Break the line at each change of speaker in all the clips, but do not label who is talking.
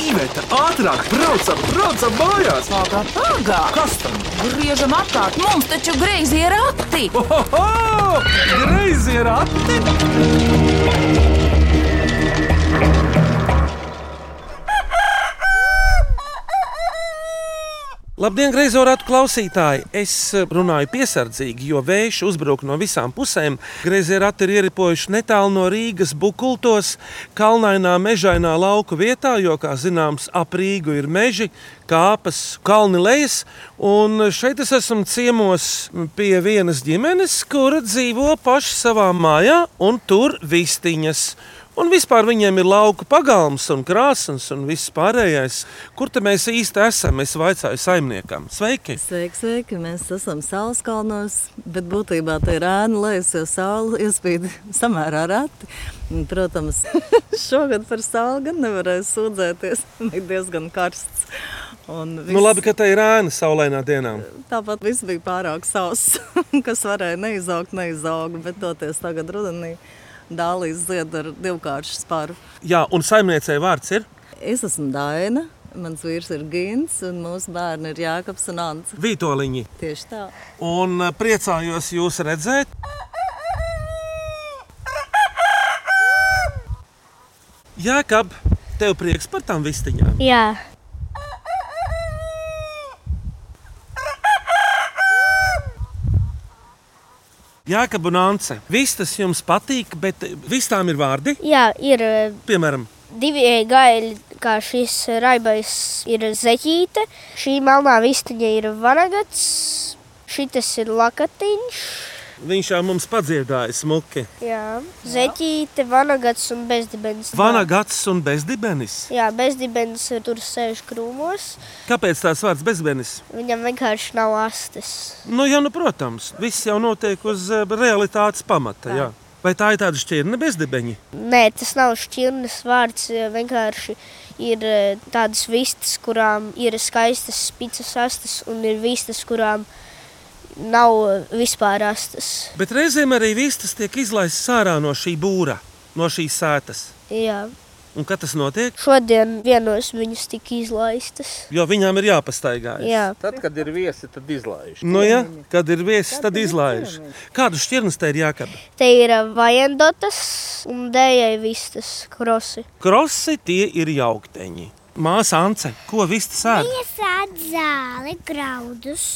Iveta, ātrāk, braucam, braucam mājās!
Pagā, pagā!
Kas tam?
Griežam apkārt, mums taču greizi ir akti!
Ohoho! Greizi ir ati!
Labdien, grazot ratu klausītāji! Es eh, runāju piesardzīgi, jo vējš uzbrūk no visām pusēm. Grazot rati ir ieripojuši netālu no Rīgas bukultos, kalnainā, mežainā lauka vietā, jo, kā zināms, ap Rīgu ir meži, kāpas, kalni lejas. Un šeit es esmu ciemos pie vienas ģimenes, kura dzīvo paši savā mājā, un tur vistiņas. Un vispār viņiem ir lauka pagalms un krāsas un viss pārējais. Kur te mēs īsti esam? Es vaicāju saimniekam. Sveiki!
Sveiki, sveiki! Mēs esam saules kalnos, bet būtībā tā ir ēna, lai es jau sauli iespīd samērā rati. Un, Protams, šogad par sauli gan nevarēju sūdzēties. Bija diezgan karsts. Un Viss,
Nu, labi, ka tā ir ēna saulainā dienā.
Tāpat viss bija pārāk sauss, kas varēja neizaugt, neizauga. Bet toties tagad rudenī dālīs zied ar divkāršu spāru.
Jā, un saimniecei vārds ir
Es esmu Daina, mans vīrs ir Gins un mūsu bērni ir Jākaps un Ants.
Vitoļiņi.
Tieši tā.
Un eh, priecājos jūs redzēt. Jā, kāp, tev prieks par tām vistiņām.
Jā,
Jā, kā bunānce. Vistas jums patīk, bet eh, vistām ir vārdi.
jā ir eh,
Piemēram,
divi e, gaili, kā šis raibais ir zeķīte, šī melnā vistiņa ir vanagats, šitas ir lakatiņš,
viņš jau mums padziedāja smuki.
jā, zeķīte, vanagats un bezdibens.
Vanagats un bezdibenis.
Jā, bezdibens eh, tur sēž krūmos,
Kāpēc tāds vārds bezdibenis?
viņam vienkārši nav astes.
Nu, jā, nu, protams, viss jau notiek uz eh, realitātes pamata. Jā. Vai tā ir tāda šķirne bezdibeņi?
Nē, tas nav šķirnes vārds, eh, vienkārši ir eh, tādas vistas, kurām ir skaistas spicas astes un ir vistas, kurām nav eh, vispār astes.
Bet reizēm arī vistas tiek izlaistas ārā no šī būra, no šīs sētas.
Jā.
Un kad tas notiek?
Šodien vienos viņas tika izlaistas.
Jo viņām ir jāpastaigājas.
Jā,
Tad, kad ir viesi, tad izlaiž.
Nu, ja, kad ir viesis, tad izlaiž. Kādu šķirnes te ir jākab?
te ir eh, vajendotas un dējai vistas krosi.
Krosi tie ir jaukteņi. Māsa Ance, ko vistas ēd?
Viņa sēž zāli, graudus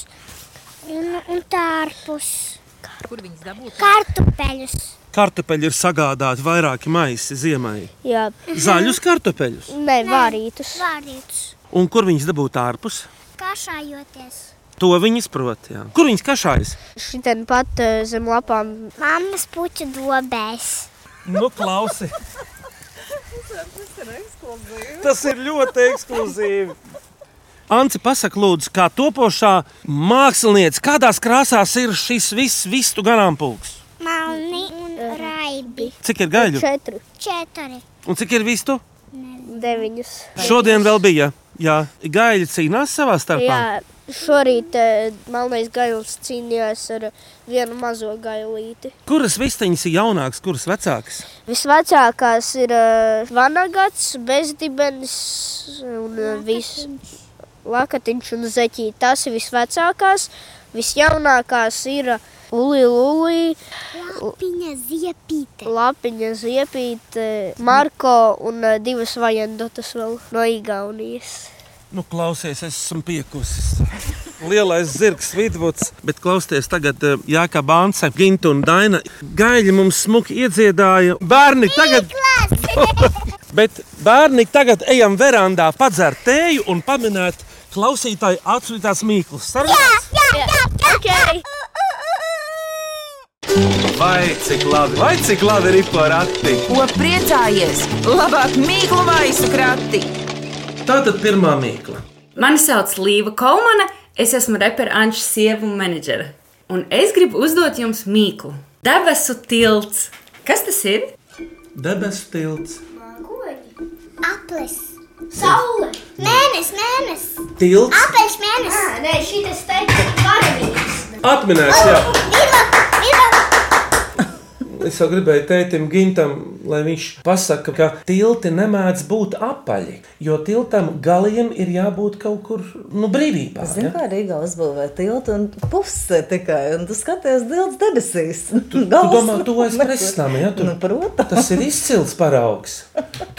un, un tārpus. Kur viņas dabūt? Kartupeļus.
Kartupeļi ir sagādāti vairāki maisi ziemai.
Jā,
Zaļus kartupeļus.
nē, vārītas.
Vārītus.
Un kur viņas dabūt ārpus?
Kašājoties.
To viņi saprot. jā. Kur viņas kašājas?
Šitien pat eh, zem lapām
Mammas puķu dobēs.
Nu, klausi. Tas ir ļoti ekskluzīvi. Anci, pasak, lūdzu, kā topošā mākslinieca, kādās krāsās ir šis viss vistu garāmpulks?
Melni un raibi.
Cik ir gaļu
četri,
Četri.
un cik ir vistu?
deviņas.
Šodien vēl bija. Jā, gaļa cīnās savā starpā.
Jā, šorīt eh, melnais gails cīnījās ar vienu mazo gailīti.
Kuras vistiņas ir jaunākas, kuras vecākas?
Visvecākās ir eh, vanagats, bezdibens un eh, viss. Lakatiņš un zeķīte. Tās ir visvecākās. Visjaunākās ir eh, Lulija, Lulija,
Viņa ziepīte.
Lapiņa, Ziepīte, eh, Marko un eh, divas vajendotas vēl no Igaunijas.
Nu, klausies, es esmu piekusis. Lielais zirgs, vidvuds, bet klausies tagad eh, Jāka Bānce, Ginta un Daina. Gaļi mums smuki iedziedāja. Bērni tagad! bet bērni tagad ejam verandā padzert tēju un paminēt klausītāju atsūtītās mīklas. Sarunāts?
Okay.
Vai cik labi, vai cik labi ir pa rati!
Ko priecājies? Labāk mīklu maisu krati!
Tātad pirmā mīkla.
Mani sauc Līva Kalmana, es esmu repera Anča sievu menedžere. Un es gribu uzdot jums mīklu. Debesu tilts. Kas tas ir?
Debesu tilts.
Aplis. Saule. Mēnesis, mēnesis.
Tilts
Aplis mēnesis. Nē, šī tas teikt.
atminēts, jā.
Viva, viva.
Es Es jau gribēju tētim Gintam, lai viņš pasaka, ka tilti nemēdz būt apaļi, jo tiltam galiem ir jābūt kaut kur nu, brīvībā.
Zinu, kā Rīgā uzbūvēja tiltu, un puse tikai. Un tu skaties, Dievs, debesīs.
Tu
Tu,
domā, to es prasām, ja tur
Nu, protams.
Tas ir izcils paraugs.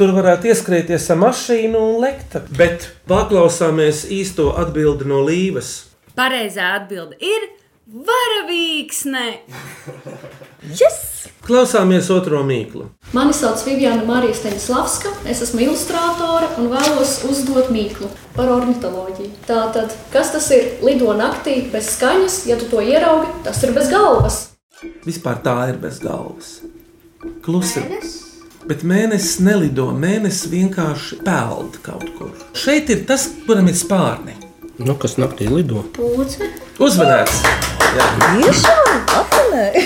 Tur varētu ieskrieties ar mašīnu un lekt. Bet paklausāmies īsto atbildi no Līves.
Pareizā atbilde ir varavīksne.
Yes!
Klausāmies otro mīklu.
Mani sauc Viviana Marija Steņdārzlavska, es esmu ilustrātore un vēlos uzdot mīklu par ornitoloģiju. Tātad, kas tas ir? Lido naktī bez skaņas, ja tu to ieraugi, tas ir bez galvas.
Vispār tā ir bez galvas. Klusa. Bet mēnesis nelido, mēnesis vienkārši peld kaut kur. Šeit ir tas, kuram ir spārni.
Nu, kas naktī lido?
Pūce.
Uzmanīgs!
Tiešām! Apmanēji!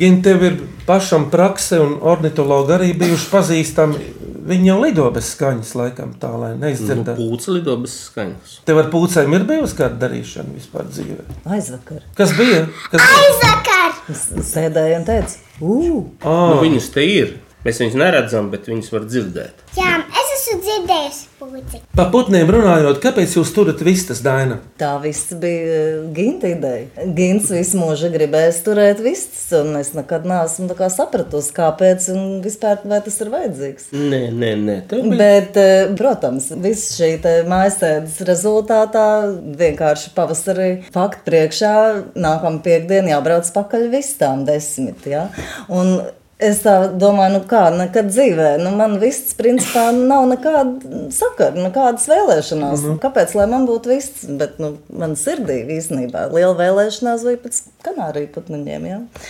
Gan tev ir pašam prakse, un ornitologi arī bijuši pazīstami. Viņi jau lido bez skaņas, laikam, tā lai
Nu,
neizdzirdētu.
Pūce lido bez skaņas.
Tev ar pūcēm ir bijusi kāda darīšana vispār dzīvē.
Aizvakar.
Kas bija? Kas...
Aizvakar!
Es sēdēju un teicu, ugh!
Oh. Nu, viņas te ir. Mēs viņus neredzam, bet viņas var dzirdēt.
Jā, es esmu dzirdējusi pūci.
Pa putniem runājot, kāpēc jūs turat vistas daina?
Tā viss bija Ginta ideja. Gins visu mūžu gribēja turēt vistas, un es nekad neesmu tā kā sapratusi, kāpēc un vispār vai tas ir vajadzīgs.
Nē, nē, nē. Tev bija
Bet, eh, protams, viss šī mājasēdes rezultātā vienkārši pavasarī faktu priekšā nākamā piekdiena jābrauc pakaļ visām desmit. Ja? Un Es tā domāju, nu kā, nekad dzīvē, nu man viss, principā, nav nekāda sakara, nekādas vēlēšanās.
Mhm.
Mm. Kāpēc, lai man būtu viss, bet, nu, man sirdī īstenībā liela vēlēšanās bija pēc kanāriju putniņiem, jā. Ja?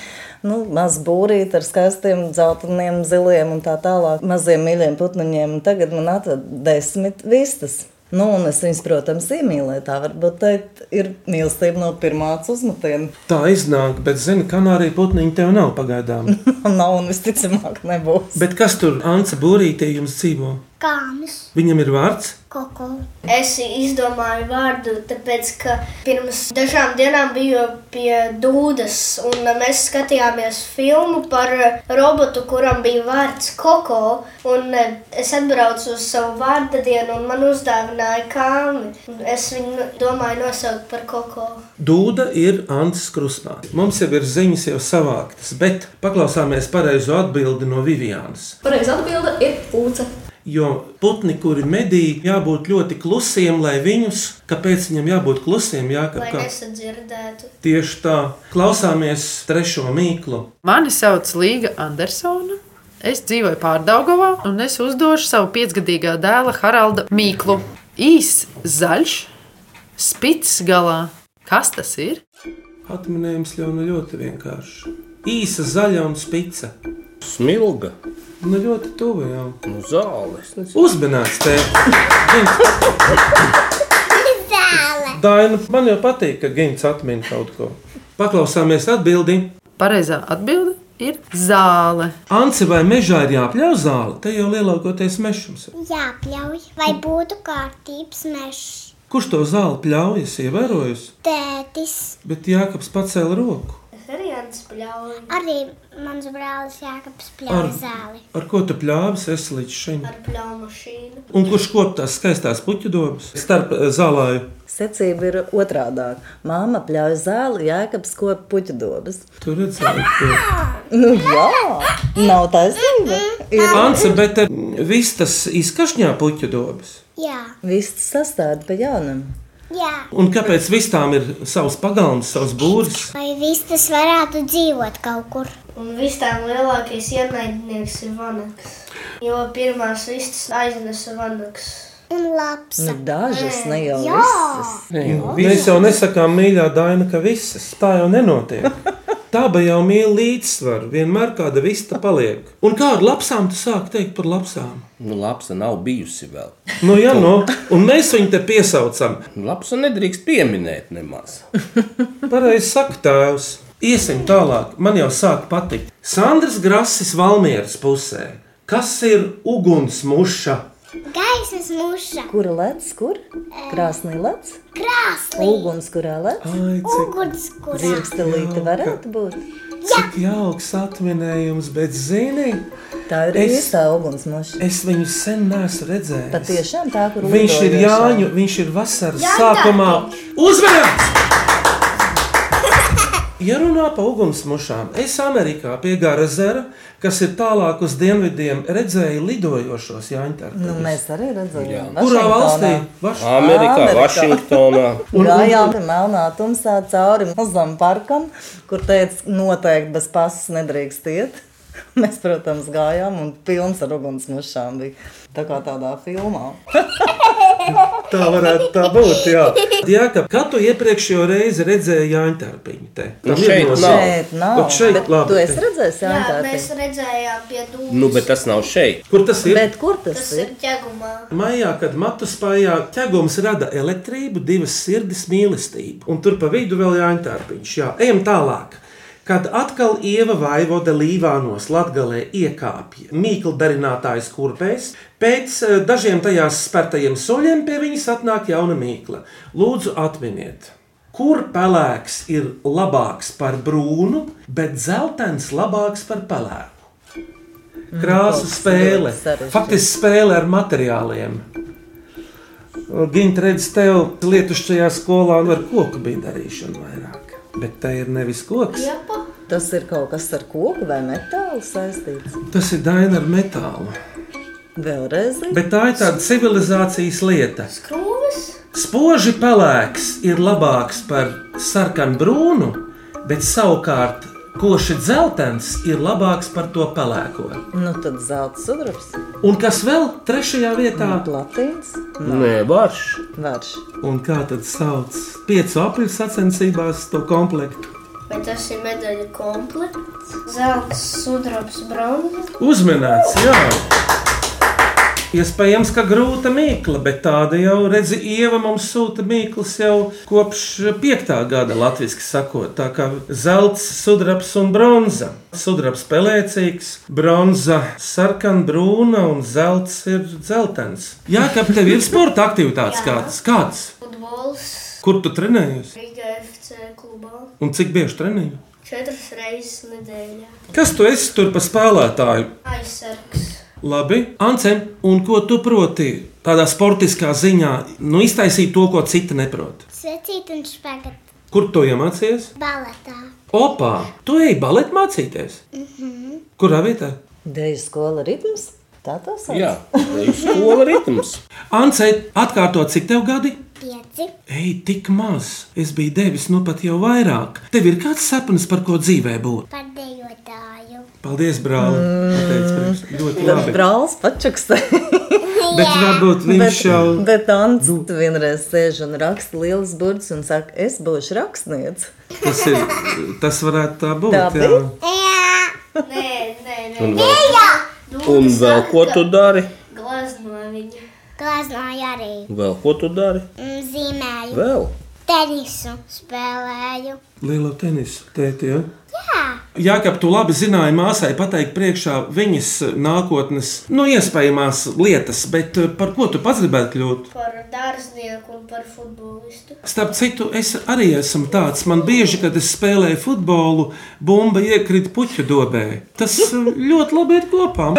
nu, maz būrīt ar skaistiem dzelteniem, ziliem un tā tālāk, maziem mīļiem putnuņiem. Un Tagad man atveda desmit vistas. Nu, un es viņas, protams, iemīlēju. Tā varbūt teikt, ir mīlestība no pirmās uzmetiena.
Tā iznāk, bet zini, ka arī putniņi tev nav pagaidām.
Nav un visticamāk nebūs.
bet kas tur Anca būrītē jums dzīvo?
Kāmis,
Viņam ir vārds?
koko.
Es izdomāju vārdu, tāpēc ka pirms dažām dienām biju pie dūdas, un mēs skatījāmies filmu par eh, robotu, kuram bija vārds Koko. Un eh, es atbraucu uz savu vārdu dienu, un man uzdāvināja kāmi. Un Es viņu domāju nosaukt par Koko.
Dūda ir Ancis Krusmā. Mums jau ir ziņas jau savāktas, bet paklausāmies pareizo atbildi no Vivianas.
Pareiz atbilde ir pūce.
Jo putni, kuri medī, jābūt ļoti klusiem, lai viņus, kāpēc viņam jābūt klusiem, jākap
Lai
kā.
nesadzirdētu.
Tieši tā, klausāmies trešo mīklu.
Mani sauc Līga Andersona. Es dzīvoju Pārdagovā, un es uzdošu savu piecgadīgā dēla Haralda Mīklu. Īs zaļš, spits galā. Kas tas ir?
Atminējums jau nu ļoti vienkārši. Īsa zaļa un spica.
smilga,
Nu ļoti tuvu jau.
nu zāles.
Uzmanīgs tev!
Zāle!
Daina, man jau patīk, ka Gigants atmin kaut ko. Paklausāmies atbildi.
Pareizā atbilde ir zāle.
Anci vai mežā ir jāpļauj zāle? Te jau lielākoties mežs.
Jāpļauj, vai būtu kārtības mežs.
Kurš to zāli pļaujas, ievērojis?
Tētis,
Bet Jānis pacēla roku.
Es arī atspļauju
arī mans brālis Jānis
Ar,
Pļāvis zāli.
ar ko tu pļāvis esi līdz šim?
ar pļauju mašīnu.
Un kurš kop tās skaistās puķu domas starp eh, zālāju?
Secība ir otrādā. Māma pļauj zāli, jēkabs kopa puķu dobas.
Tur redzēju, ka
Nu jā, nav taisnība. Ir
Anci, bet eh, vistas izkašņā puķu dobas.
Jā,
viss sastāda pa jaunam.
jā.
Un kāpēc vistām ir savs pagalms, savs būris?
Vai vistas varētu dzīvot kaut kur?
Un visām lielākais ienaidnieks ir vanaks. Jo pirmās vistas aiznesa vanaks.
Un labs.
Nu, dažas ne jau
Jā.
visas.
Mēs jau nesakām, mīļā Daina, ka visas tā jau nenotiek. Taba jau mīl līdzsvaru, vienmēr kāda vista paliek. Un kādu lapsām tu sāk teikt par lapsām?
Nu, lapsa nav bijusi vēl.
Nu, jā, no, un mēs viņu te piesaucam.
Nu, Lapsa nedrīkst pieminēt nemaz.
Pareizi saka, tēvs. Iesim tālāk, man jau sāk patikt. Sandrs Grasis Valmieras pusē. Kas ir ugunsmuša?
Gaismas muša,
Kura lec, kur? Krāsnī lec,
krāsli,
uguns, kurā lec.
Ah, Ai, cik
uguns, kurā
Zirgstelīte varētu būt.
Cik jauks atminējums, bet zini,
Tā ir
Es-
īsta ugunsmuša.
es viņu sen neesmu redzējis.
Patiešām tā, kur
Viņš ir
lidojošā.
Jāņu, viņš ir vasaras sākumā. Uzmanības! Ja runā par ugunsmušām, es Amerikā pie Garazera, kas ir tālāk uz dienvidiem, redzēju lidojošos jāņķus.
Nu, mēs arī redzējām,
Kurā valstī? Vaš-
Amerikā,
Amerikā.
Vašingtonā.
Gājām melnā tumsā cauri mazam parkam, kur teica, noteikti bez pasas nedrīkst iet. Mēs, protams, gājām un pilns ar ugunsmušām bija. Tā kā tādā filmā.
Tā varētu tā būt. Jā, jā ka, kad tu iepriekšējo reizi redzēji Jāņķarpiņu, te
Nu,
Tam
šeit
lidos-
nav.
Bet nav.
Bet šeit,
Bet
labi,
tu esi
te.
redzējis, jā,
Jā,
tā
mēs redzējām pie dūmu.
Nu, bet tas nav šeit.
Kur tas ir?
Bet kur tas,
Tas
tas ir?
ir ķegumā.
Maijā, kad matus spējā ķegums rada elektrību, divas sirdis mīlestību, un tur pa vidu vēl jāņķārpiņš. Jā, ejam tālāk. Kad atkal ieva vaivoda līvānos latgalē iekāpja mīkla darinātājs kurpēs, pēc eh, dažiem tajās spērtajiem soļiem pie viņas atnāk jauna mīkla. Lūdzu, atminiet! Kur pelēks ir labāks par brūnu, bet dzeltens labāks par pelēku? krāsu
Kaut
spēle.
ļoti sarežģīti.
Faktiski spēle ar materiāliem. Gan redz, tev lietušķajā skolā nu, ar koku bija darīšana vairāk. Bet tā ir nevis koks.
Tas ir kaut kas ar koku vai metālu saistīts.
Tas ir daina ar metālu.
Vēlreiz.
Bet tā ir tāda civilizācijas lieta.
Krūvis?
Spoži pelēks ir labāks par sarkanu brūnu, bet savukārt koši dzeltens ir labāks par to pelēko.
Nu, tad zelta sudrabs,
Un kas vēl trešajā vietā?
platīns,
Nē, varš.
varš.
Un kā tad sauc piecu aprīļa sacensībās to komplektu?
Bet tas ir medaļu komplekts. Zelta sudrabs, bronzas.
Uzmanīts, jā! Iespējams, ka grūta mīkla, bet tāda jau redzi, Ieva mums sūta mīklas jau kopš 5. gada latviešu sakot. Tā kā zelts, sudrabs un bronza. Sudrabs pelēcīgs, bronza sarkana, brūna un zelts ir dzeltens. Jā, kā tev ir sporta aktivitātes kāds? kāds?
Futbols.
Kur tu trenējies?
Riga FC klubā.
Un cik bieži trenējies?
Četras reizes nedēļā.
Kas tu esi tur pa spēlētāju?
Aizsargs.
Labi, Ancem, un ko tu proti tādā sportiskā ziņā, nu iztaisīt to, ko citi neprot?
Secīt un špagat
Kur to iemācījies?
baletā.
Opā, tu ej balet mācīties. Kurā vietā?
Deju skola ritms. Tā tas ir.
Jā, skola ritms.
Ancei, atkārto, cik tev gadi?
Pieci.
Ei, tik maz, es biju devis, nu pat jau vairāk. Tev ir kāds sapnis, par ko dzīvē būt?
Par dejotāju.
Paldies, brāl! Mm. Ļoti
Tad
labi.
brālis pačakstē.
Bet varbūt viņš jau.
Bet Ants vienreiz sēž un raksta liels burts un saka, es būšu rakstnieks.
Tas, ir, tas varētu tā būt.
Tā
jā.
bija?
Nē, nē, nē.
Un vēl, un vēl ko tu dari?
Glazno viņa.
Glaznoju arī.
Vēl ko tu dari?
Un zīmēju.
Vēl.
Tenisu spēlēju.
Lielo tenisu tēti. Ja?
Jā.
Jā, ka tu labi zināji māsai pateikt priekšā viņas nākotnes, nu, iespējamās lietas, bet eh, par ko tu pats gribētu kļūt?
Par dārznieku un par futbolistu.
Starp citu, es arī esmu tāds. Man bieži, kad es spēlēju futbolu, bumba iekrita puķu dobē. Tas eh, ļoti labi ir kopā.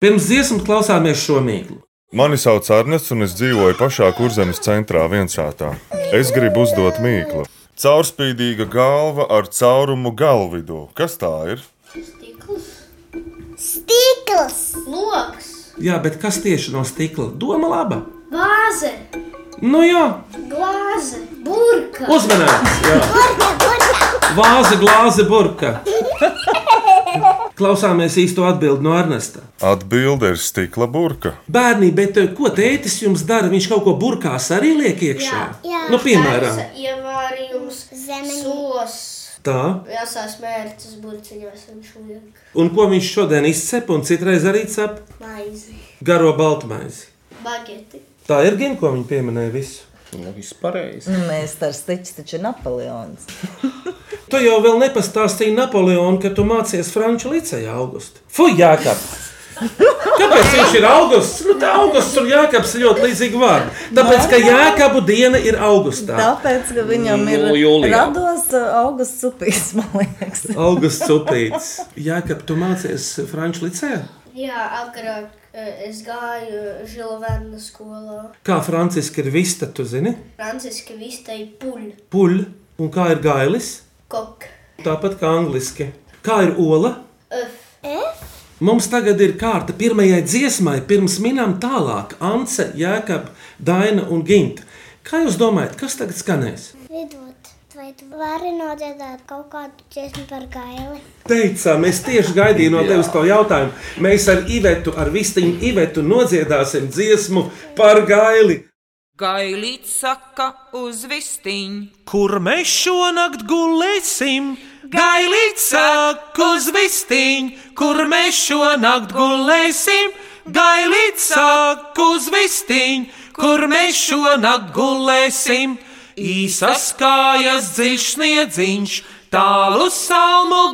Pirms dziesmas klausāmies šo mīklu.
Mani sauc Arnests, un es dzīvoju pašā kurzemes centrā, viensātā. Es gribu uzdot mīklu. Caurspīdīga galva ar caurumu galvidū. Kas tā ir?
Stikls.
Stikls.
Loks.
Jā, bet kas tieši no stikla? Doma laba.
Glāze.
Nu jā,
Glāze. Burka.
uzmanības! Jā.
Burka, burka.
Vāze, glāze, burka. Klausāmies īsto atbildi no Ernesta.
Atbilde ir stikla burka.
Bērni, bet eh, ko tētis jums dara? Viņš kaut ko burkās arī liek iekšā.
Jā.
Nu, piemēram,
Gaisa Ievārījums.
Zemeņi.
Sos.
tā.
Jāsās mērķis burciņās viņš liek.
Un ko viņš šodien izcep, un citreiz arī cep
Maizi.
garo baltmaizi.
Bageti.
Tā ir gan, ko viņa pieminēja visu.
Nu, viss pareizi.
Nu, Mēs ar stiķi taču ir Napoleons.
Tu jau vēl nepastāstīji Napoleonu, ka tu mācies Franču līcējā augustā. Fui, Jākap! Kāpēc viņš ir augusts? Nu, tā augusts un jēkabs ir ļoti līdzīgi vārdi. Tāpēc, ka jēkabu diena ir augustā.
Tāpēc, ka viņam ir
Nu, jūlijā.
rados uh, augusts upīs, man liekas.
Augusts upīts. Jēkab, tu mācies Franču licē?
Jā, agrāk eh, es gāju Žilovena skolā.
Kā Franciska ir vista, tu zini?
Franciska vistai puļ,
Puļ. Un kā ir gailis?
kok.
Tāpat kā angliski. Kā ir ola?
F. F?
Mums tagad ir kārta pirmajai dziesmai, pirms minām tālāk Ance, Jēkab, Daina un Ginta. Kā jūs domājat, kas tagad skanēs?
Vidot, vai tu vari nodziedāt kaut kādu dziesmu par gaili?
Teicām, es tieši gaidīju no tevis to jautājumu. Mēs ar Ivetu, ar Vistiņu Ivetu nodziedāsim dziesmu par gaili.
Gailīts saka uz vistiņu.
Kur mēs šonakt gulēsim? Gailīts saka uz vistiņu, kur mēs šonakt gulēsim. Gailīts saka uz vistiņu, kur mēs šonakt gulēsim. Īsas kājas dziļš sniedziņš, tālu salmu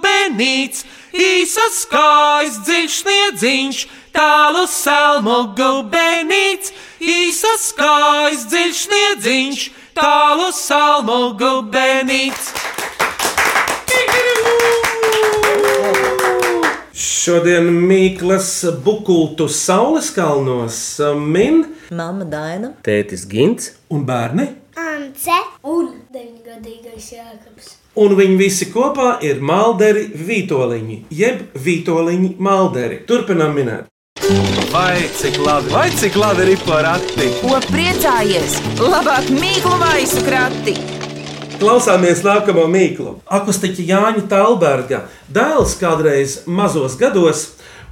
gubenīts. Īsas kājas dziļš sniedziņš, tālu salmu gubenīts. Īsas kājas dziļš sniedziņš, tālu salmu gubenīts. Šodien Mikls Bukultu Saules kalnos um, min
Mama Daina.
Tētis Gins.
un bērni.
Ance.
Un 9-gadīgais Jākabs.
Un viņi visi kopā ir malderi vītoliņi, jeb vītoliņi malderi. Turpinām minēt.
Vai cik labi, vai cik labi ir porati?
Ko priecājies? Labāk mīklu maisu krati.
Klausāmies nākamo mīklu. Akustiķa Jāņa Talberga dēls kādreiz mazos gados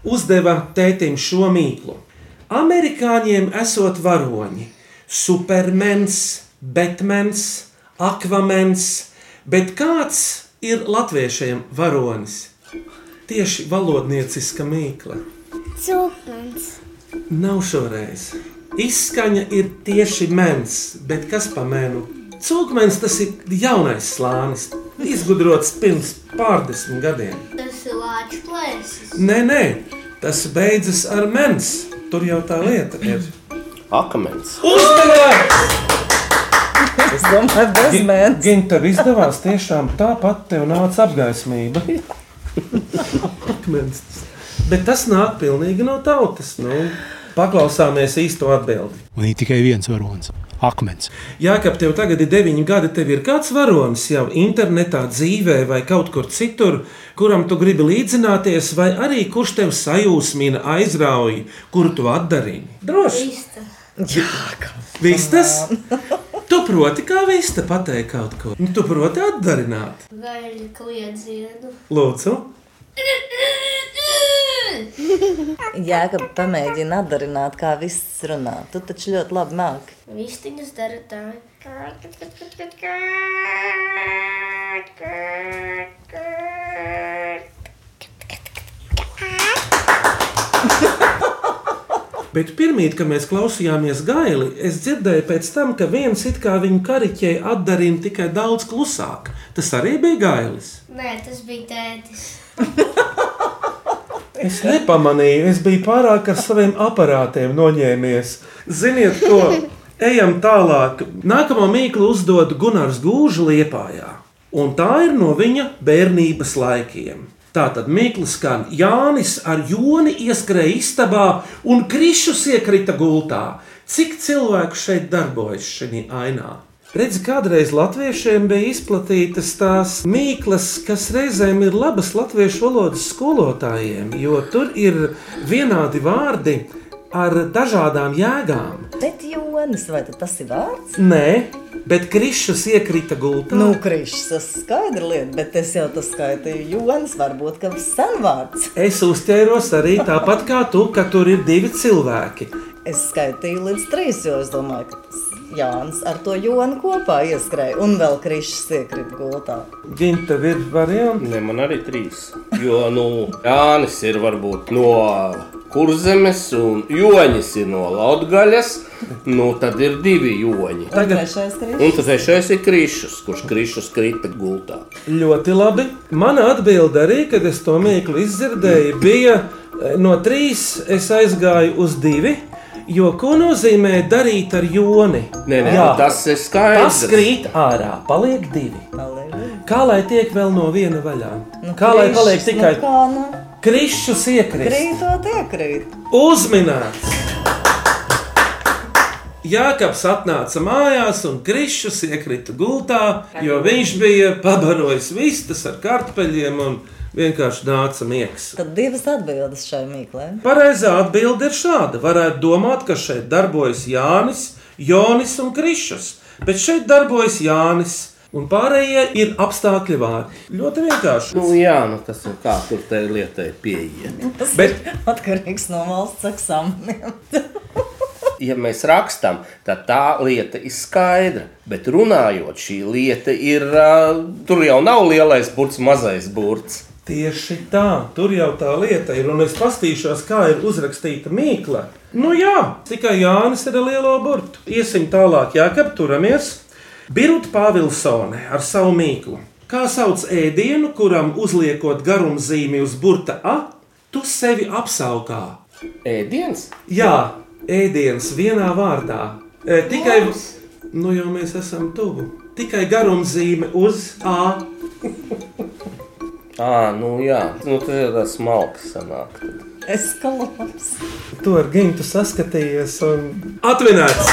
uzdeva tētim šo mīklu. Amerikāņiem esot varoņi, supermens, betmens, akvamens, bet kāds ir latviešiem varonis? Tieši valodnieciska mīkla.
Cūkmens.
Nav šoreiz. Izskaņa ir tieši mens, bet kas pamēnu? Cūkmens tas ir jaunais slānis, izgudrots pirms pārdesmit gadiem.
Tas ir lāču plēsis.
Nē, nē, tas beidzas ar mens. Tur jau tā lieta ir.
Akamens.
Uzmanība!
Es domāju, bez mens.
Gan tev izdevās tiešām tāpat, tev nāca apgaismība. Akmens. Bet tas nāk pilnīgi no tautas. Nu, paklausāmies īsto atbildi.
Un ir tikai viens varonis - akmens.
Jā, ka tev tagad ir deviņi gadi, tev ir kāds varonis jau internetā, dzīvē vai kaut kur citur, kuram tu gribi līdzināties, vai arī kurš tev sajūsmina, aizrauj, kuru tu atdarini. Droši. Jā, Vistas? Tu proti, kā vista pateikt kaut ko. Nu, tu proti atdarināt.
Gaļa kliedzienu.
Lūdzu,
Jā, ka pamēģini atdarināt, kā viss runā. Tu taču ļoti labi māki.
Vistiņas dara tā.
Bet pirmie, kad mēs klausījāmies gaili, es dzirdēju pēc tam, ka viens it kā viņu kariķē atdarina tikai daudz klusāk. Tas arī bija gailis.
Nē, tas bija tētis.
Es nepamanīju, es biju pārāk ar saviem aparātiem noņēmies. Ziniet, ko? Ejam tālāk. Nākamo mīklu uzdod Gunārs Gūža liepājā. Un tā ir no viņa bērnības laikiem. Tā tad Mikls skan Jānis ar joni ieskrēja istabā un krišus iekrita gultā. Cik cilvēku šeit darbojas šajā ainā? Redzi, kādreiz latviešiem bija izplatītas tās mīklas, kas reizēm ir labas latviešu valodas skolotājiem, jo tur ir vienādi vārdi ar dažādām jēgām.
Bet Jonas, vai tad tas ir vārds?
Nē, bet krišus iekrita gultā.
Nu, krišs, tas skaidra lieta, bet es jau tas skaitīju. Jonas varbūt, ka sen vārds.
Es uzķēros arī tāpat kā tu, ka tur ir divi cilvēki.
Es skaitīju līdz trīs, jo es domāju, ka tas Jānis ar to Jonu kopā ieskrēja un vēl krišs iekrīt gultā.
Gan tev ir variants.
Nē, man arī trīs. Jo, nu, Jānis ir varbūt no kurzemes un joņas ir no Latvijas. Nu, tad ir divi joņi.
Trešais krīšus.
Un tad trešais ir krīšus, kurš krīšus krita gultā.
Ļoti labi. Mana atbilde arī, kad es to mīklu izdzirdēju, bija eh, no trīs, es aizgāju uz divi. Jo ko nozīmē darīt ar joni?
Nē, nē, nu, tas ir skaidrs.
Tas krīt ārā, paliek divi. Kā lai tiek vēl no viena vaļā? Nu, kā lai paliek tikai
nu, kā, nu,
krišus iekrist?
krītot, iekrīt.
Uzminēts! Jākaps atnāca mājās un krišus iekrita gultā, jo viņš bija pabarojis vistas ar kartupeļiem un vienkārši nāca miegs.
Tad divas atbildes šai mīklē.
Pareizā atbilde ir šāda. Varētu domāt, ka šeit darbojas Jānis, Jonis un Krišs, bet šeit darbojas Jānis. Un pārējie ir apstākļi vārdi. Ļoti vienkārši.
Nu, jā, nu tas ir kā tur tai lietai pieiet.
Tas
Bet-
Bet... atkarīgs no valsts eksāmeniem.
Ja mēs rakstām, tad tā lieta ir skaidra. Bet runājot, šī lieta ir. Uh, tur jau nav lielais burts, mazais burts.
Tieši tā, tur jau tā lieta ir. Un es paskatīšos, kā ir uzrakstīta mīkla. Nu jā, tikai Jānis ir ar lielo burtu. Iesim tālāk, Jākap, turamies. Birta Pāvilsone ar savu mīklu. Kā sauc ēdienu, kuram uzliekot garumzīmi uz burta A, tu sevi apsaukā?
Ēdiens?
Jā, ēdiens vienā vārdā. E, tikai nu, jau mēs esam tuvu. Tikai garumzīme uz A.
À, nu jā, nu, tas ir tāds smalks sanāk.
Es kalpoju.
To ar gimtu saskatījies un atvināts!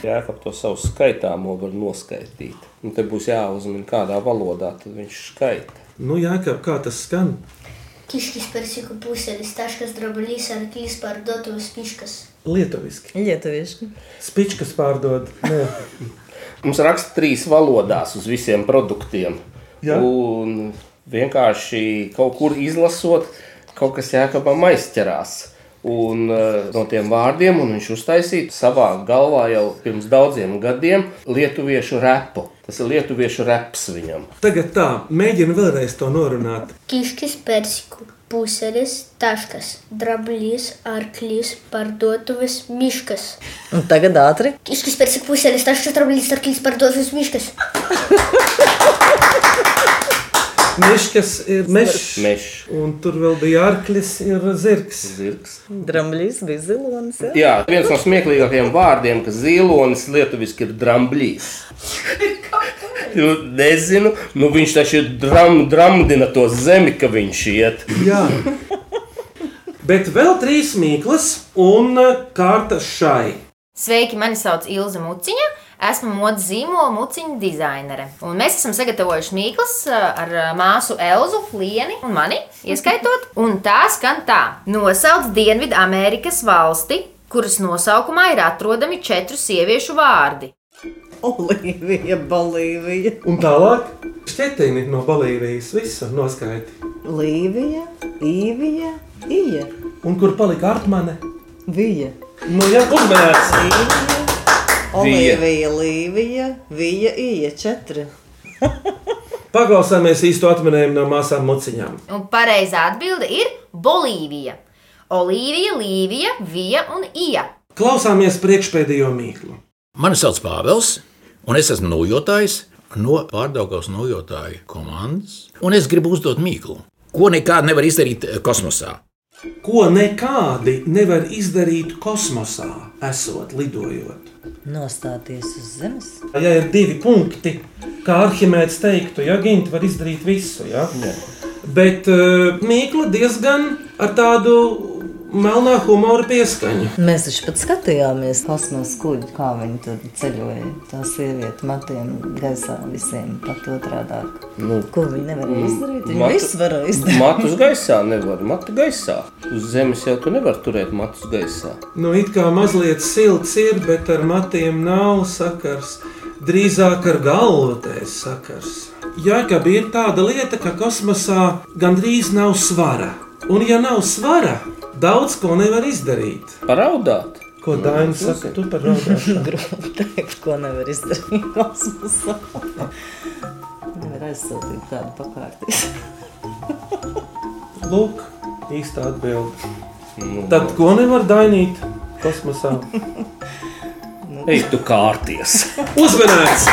Jā, ka to savu skaitāmo var noskaitīt. Un te būs jāuzmina, kādā valodā tad viņš skaita.
Nu, Jākap, kā tas skan?
Кишки с персику пусели, сташка с дроболиса, арклис пардотовы с пишкас.
Lietuviski.
Lietuviski.
Spičkas pārdod. Nē.
Mums raksta trīs valodās uz visiem produktiem.
Jā.
Un vienkārši kaut kur izlasot, kaut kas jākabam aizķerās. Un eh, no tiem vārdiem un viņš uztaisīja savā galvā jau pirms daudziem gadiem lietuviešu repu. Tas ir lietuviešu reps viņam.
Tagad tā, mēģinu vēlreiz to norunāt.
Кишки с персику пусели, сташкас, дроблис, арклис пардотовы с мишкас.
Un tagad ātri.
Кишки с персику пусели, сташка с дроблис, арклис пардотовы с мишкас.
Meškas ir mešs.
Mešs.
Un tur vēl bija arklis, ir zirgs.
Zirgs.
Dramblīs bija zilonis. jā?
Jā, viens no smieklīgākajiem vārdiem, kas zilonis lietuviski ir dramblīs. Nu, Nezinu, nu viņš taču ir dram, dramdina to zemi, ka viņš iet.
Jā. Bet vēl trīs mīklas un eh, kārta šai.
Sveiki, mani sauc Ilza Muciņa. Esmu modes zīmola muciņa dizainere. Un mēs esam sagatavojuši mīklas ā, ar ā, māsu Elzu, Lienu un mani, ieskaitot. Un tā skan tā: Nosauc Dienvidamerikas valsti, kuras nosaukumā ir atrodami četru sieviešu vārdi.
Olivija, Bolīvija.
Un tālāk šķietini no Bolīvijas visu noskaiti.
Līvija, Īvija, Ija.
Un kur palika Artmane?
Vija.
Nu, jā, uzmanēts.
Olivija, Līvija, Vija, Ija. Četri.
Paklausāmies īsto atminējumu no māsām muciņām.
Un pareizā atbilde ir Bolīvija. Olīvija, Līvija, Vija un Ija.
Klausāmies priekšpēdējo mīklu.
Mani sauc Pāvils, un es esmu nojotājs no pārdaugās nojotāju komandas. Un es gribu uzdot mīklu, ko nekādu nevar izdarīt eh, kosmosā.
Ko nekādi nevar izdarīt kosmosā, esot lidojot?
Nostāties uz zemes.
Ja ir divi punkti, kā Arhimēds teiktu, ja gimta var izdarīt visu, ja? bet uh, mīkla diezgan ar tādu melnā humora pieskaņu.
Mēs taču pat skatījāmies kosmosa kuģi, kā viņi tur ceļoja. Tā sieviete matiem gaisā visiem pat otrādāk.
Nu,
Ko viņi nevarēja izdarīt? Viņi
matu-
visu varēja izdarīt.
Matus gaisā nevar, matu gaisā. Uz zemes jau tu nevar turēt matus gaisā.
Nu, it kā mazliet silts ir, bet ar matiem nav sakars. Drīzāk ar galvu tā ir sakars. Jā, ka bija tāda lieta, ka kosmosā gandrīz nav svara. Un, ja nav svara, daudz ko nevar izdarīt.
Paraudāt.
Ko Dainis saka, tu par raudāšanu?
Grūti pateikt, ko nevar izdarīt kosmosā. Nevar aizsūtīt tādu pakārtību.
Lūk, īsta atbilde. Tad ko nevar dainīt kosmosā?
Ej, tu kārties!
Uzmanīgs!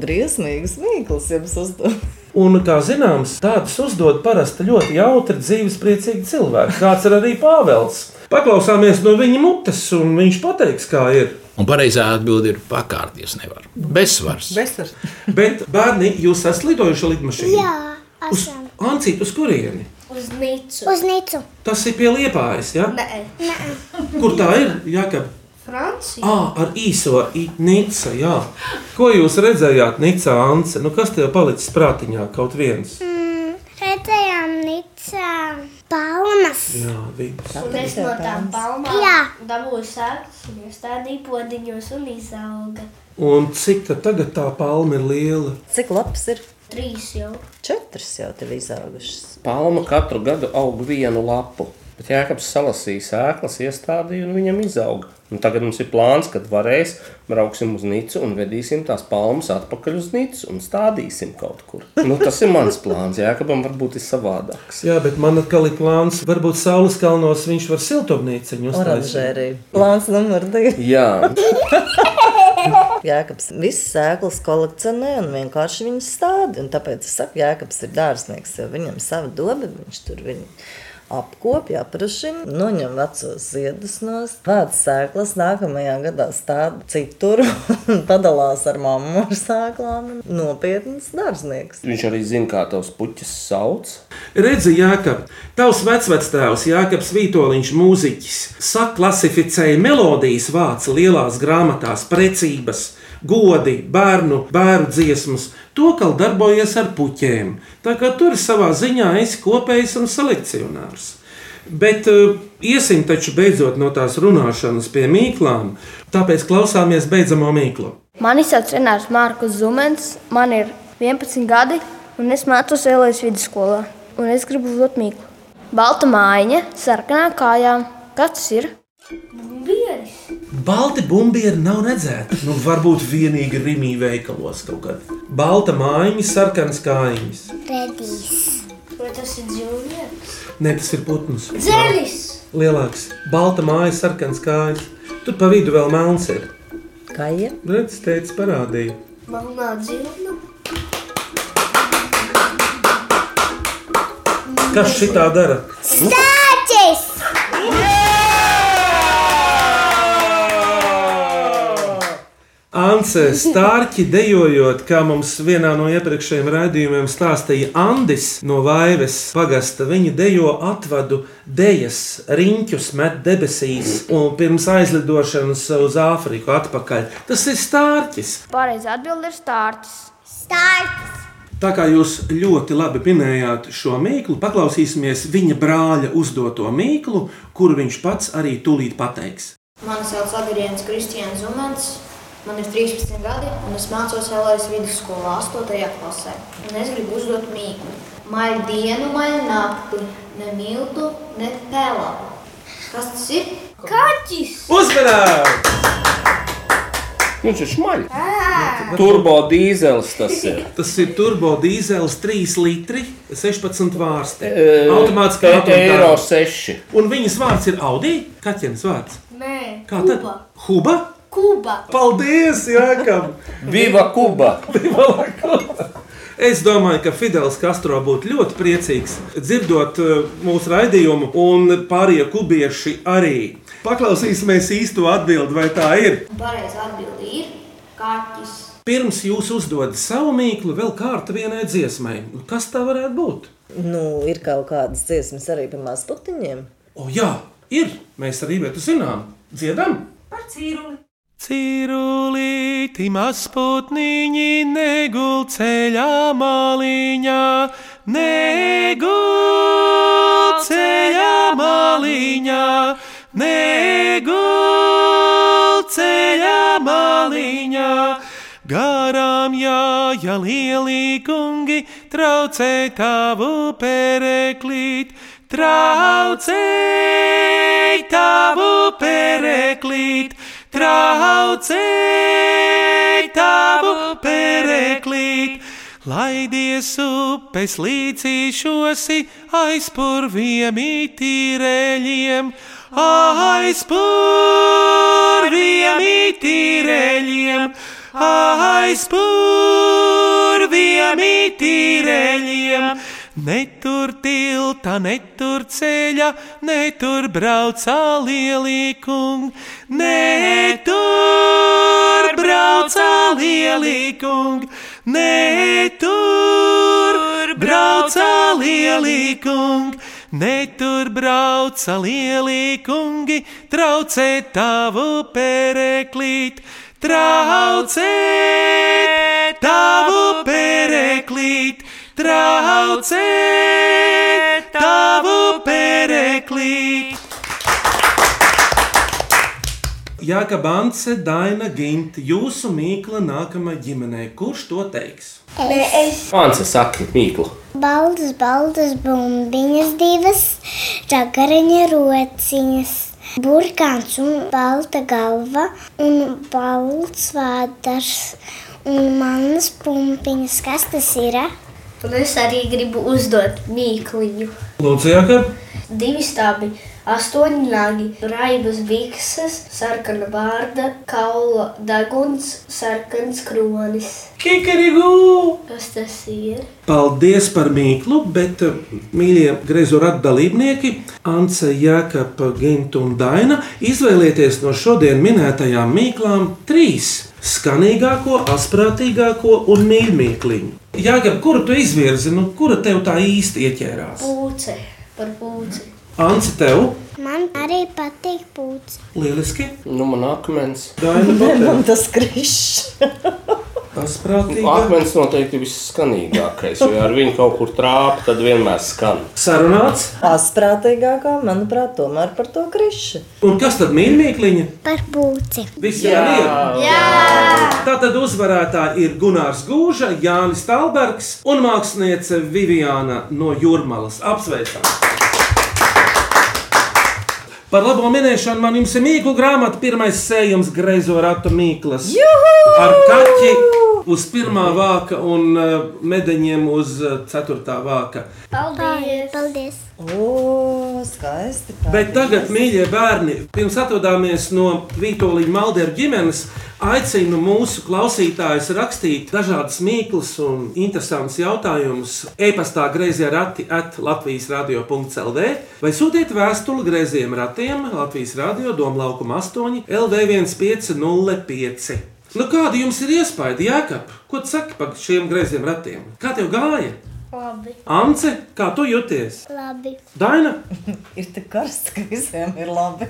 Briesmīgs mīkls jums uzdod.
Un, kā zināms, tādus uzdod parasti ļoti jautri, dzīvespriecīgi cilvēki. Kāds ir arī Pāvils. Paklausāmies no viņa mutes, un viņš pateiks, kā ir.
Un pareizā atbilde ir pakārties nevar. Bezsvars.
Bezsvars. Bet, bērni, jūs esat lidojuši lidmašīnā?
Jā,
Uz
esam.
Ancīt, uz kurieni?
Uz nicu. Uz nicu.
Tas ir pie liepājas, ja?
Nē. Nē.
Kur tā ir? Jākab?
Francija.
Ah, ar īso i- Nica, jā. Ko jūs redzējāt Nicā, Ance? Nu, kas tev palicis prātiņā kaut viens?
Mm, redzējām nicā palmas.
Jā, viens.
Un es no tām
Jā.
palmām dabūju sēklas un iestādīju podiņos un izauga.
Un cik tad tagad tā palma ir liela?
Cik labs ir?
Trīs jau.
Četras jau tev izaugušas.
Palma katru gadu aug vienu lapu. Bet Jānis salasīja sēklas, iestādīja un viņam izauga. Un tagad mums ir plāns, kad varēs brauksim uz Nicu un vedīsim tās palmas atpakaļ uz Nicu un stādīsim kaut kur. Nu, tas ir mans plāns. Jākabam varbūt ir savādāk.
Jā, bet man atkal ir plāns. Varbūt Saules kalnos viņš var siltumnīciņu uztaisīt.
Oranžērija. Plāns numur divi.
Jā,
Jēkabs visas sēklas kolekcionē un vienkārši viņas stāda. Un tāpēc es saku, Jēkabs ir dārznieks, jo viņam sava doba, viņš tur viņu apkopja, aprašina, noņem vecos ziedus no tādas sēklas, nākamajā gadā stāda citur un padalās ar mammu ar sēklām. Nopietns dārznieks.
viņš arī zina, kā tavs puķis sauc.
Redzi, Jākab, tavs vecvectēvs Jākabs Vītoliņš mūziķis saklasificēja melodijas vācu lielās grāmatās precības, godi, bērnu, bērnu dziesmas, to, kā darbojies ar puķēm. Tā kā tur savā ziņā esi kopējs un selekcionārs. Bet uh, iesim taču beidzot no tās runāšanas pie mīklām, tāpēc klausāmies beidzamo mīklu.
Mani sauc Renārs Mārkus Zumens, man ir 11 gadi, un es mācos Elēnas vidusskolā. Un es gribu uzdot mīklu. Balta mājiņa, sarkanā kājā. Kas tas ir?
Bieži.
Balti bumbieri nav redzēti. Nu, varbūt vienīgi Rīgā veikalos kaut kad. Balta mājiņa, sarkanas kājiņas.
Redīs. Vai tas ir dzīvnieks?
Nē, tas ir putns.
Dzelis.
Lielāks. Balta māja, sarkanas kājas. Tur pa vidu vēl melns ir.
Kā jau?
Redz, teica, parādīja.
Melnā dzīvna.
Kas šitā dara?
Stāties!
Ance Stārķi dejojot, kā mums vienā no iepriekšējiem raidījumiem stāstīja Andis no Vaives pagasta. Viņa dejo atvadu dejas, riņķus met debesīs un pirms aizlidošanas uz Āfriku atpakaļ. Tas ir Stārķis.
Pareizi atbild ir stārķis.
Stārķis.
Tā kā jūs ļoti labi minējāt šo mīklu, paklausīsimies viņa brāļa uzdoto mīklu, kuru viņš pats arī tūlīt pateiks.
Mani sauc Adrians Kristians Zumans. Man ir 13 gadi, un es mācos Latvijas vidusskolā 8. klasē. Un es gribu uzdot mīklu. Maija dienu, maija naktī, ne miltu, ne pelēku. Kas tas ir? Kaķis!
Uzmanīgi!
Viņš ir šmaļš. Turbo dīzels tas ir.
Tas ir turbo dīzels, 3 litri, 16 vārsti.
E,
Automātiski
e- eiro 6.
Un viņas vārds ir Audi. Kaķenes vārds.
Nē.
Kā tad? Huba?
Kuba.
Paldies, Jākam!
Viva Kuba!
Es domāju, ka Fidels Kastro būtu ļoti priecīgs dzirdot eh, mūsu raidījumu, un pārējie kubieši arī. Paklausīsimies īsto atbildi, vai tā ir.
Pareizi atbildi ir kaķis.
Pirms jūs uzdodat savu mīklu, vēl kārta vienai dziesmai. Nu, Kas tā varētu būt?
Nu, ir kaut kādas dziesmas arī par mazputiņiem.
O, jā, ir. Mēs arī vietu zinām. Dziedam!
Par cīruli.
Cirulīti masputniņi negul ceļā malīņā, negul ceļā malīņā, negul ceļā malīņā. Garām jāja lielī kungi, traucē tavu pereklīt, traucē tavu pereklīt, traucē tavu pereklīt. Laidies upes līcīšosi, aizpurviem itīrēļiem, aizpurviem itīrēļiem, aizpurviem itīrēļiem. Netur tilta, netur ceļa, netur braucā lielīkung, netur braucā lielīkung, netur braucā lielīkung. Netur brauca lielīkungi, traucē tavu pereklīt, traucē tavu pereklīt traucē tavu pereklīt. Jāka Banse, Daina Ginte, jūsu mīkla nākamā ģimenē. Kurš to teiks?
Nē, es.
Pānce saka, mīklu.
Baldas, baldas bumbiņas, divas čakariņa rociņas. Burkāns un balta galva un balts vādars un manas pumpiņas. Kas tas ir?
Un es arī gribu uzdot mīkliņu.
Lūdzu, Jāka,
Divi stābi, astoņi nagi, raibas bikses, sarkana vārda, kaula deguns, sarkans kronis.
Kikarigū!
Kas tas ir?
paldies par mīklu, bet, eh, mīļie grezura dalībnieki, Anse, Jākapa, Ginta un Daina, izvēlieties no šodien minētajām mīklām trīs - skanīgāko, asprātīgāko un mīļākliņu. Jākapa, kuru tu izvirzi, nu, kura tev tā īsti ieķērās?
Pūce par pūci.
Anse, tev
Man arī patīk pūcis.
lieliski!
Nu, man akmens.
Daina,
Nē,
tev?
man
tas krišs.
Asprātīgi.
Akmens noteikti visskanīgākais, jo ar viņu kaut kur trāpa, tad vienmēr skan.
Sarunāts.
Asprātīgākā, manuprāt, tomēr par to krišs.
Un kas tad mīļākliņa?
Par pūci.
Viss jau ir. Tātad uzvarētāji ir Gunārs Gūža, Jānis Talbergs un māksliniece Viviana no Jurmalas. Apsveicam! Par labo minēšanu man jums ir mīklu grāmata, pirmais sējums Greizo ratu mīklas. Ar kaķi uz pirmā vāka un uh, medeņiem uz uh, ceturtā vāka.
Paldies! Paldies!
O, skaisti.
Bet tagad, mīļie bērni, pirms atvadāmies no Vitoļa Maldera ģimenes, aicinu mūsu klausītājus rakstīt dažādas mīklas un interesantas jautājumus. E-pastā grazījā rati at Latvijas radio.clv vai sūtiet vēstuli grazījiem ratiem Latvijas radio Doma laukuma 8 LV1505. Nu, kāda jums ir iespēja, Jākap? Ko tu saki par šiem grazījiem ratiem? Kā tev gāja?
Labi!
Ance, kā tu jūties?
Labi!
Daina!
ir tik karsts, ka visiem ir labi.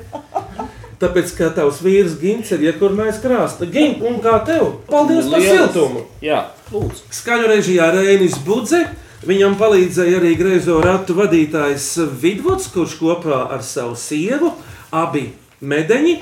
Tāpēc, kā tavs vīrs Gigants ir jebkurā krāsā, Gigants, un kā tev? Paldies par
Lielas.
siltumu!
Jā, lūdzu.
Skaņu režijā Rēnis Budze. Viņam palīdzēja arī greizo ratu vadītājs Vidvuds, kurš kopā ar savu sievu, abi medeņi,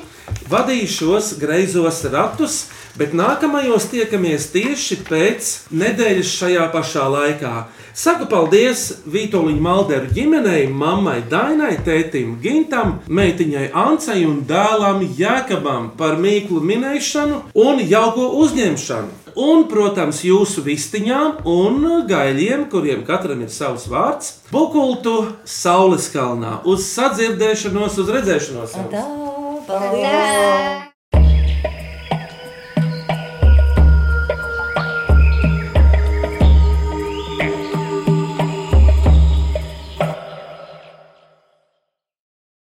vadīja šos greizos ratus. Bet nākamajos tiekamies tieši pēc nedēļas šajā pašā laikā. Saku paldies Vitoļņu Malderu ģimenei, mammai Dainai, tētim Gintam, meitiņai Ancei un dēlam Jēkabam par mīklu minēšanu un jauko uzņemšanu. Un, protams, jūsu vistiņām un gaļiem, kuriem katram ir savs vārds, bukultu saules kalnā. Uz sadzirdēšanos, uz redzēšanos! jums!
Tā, paldies!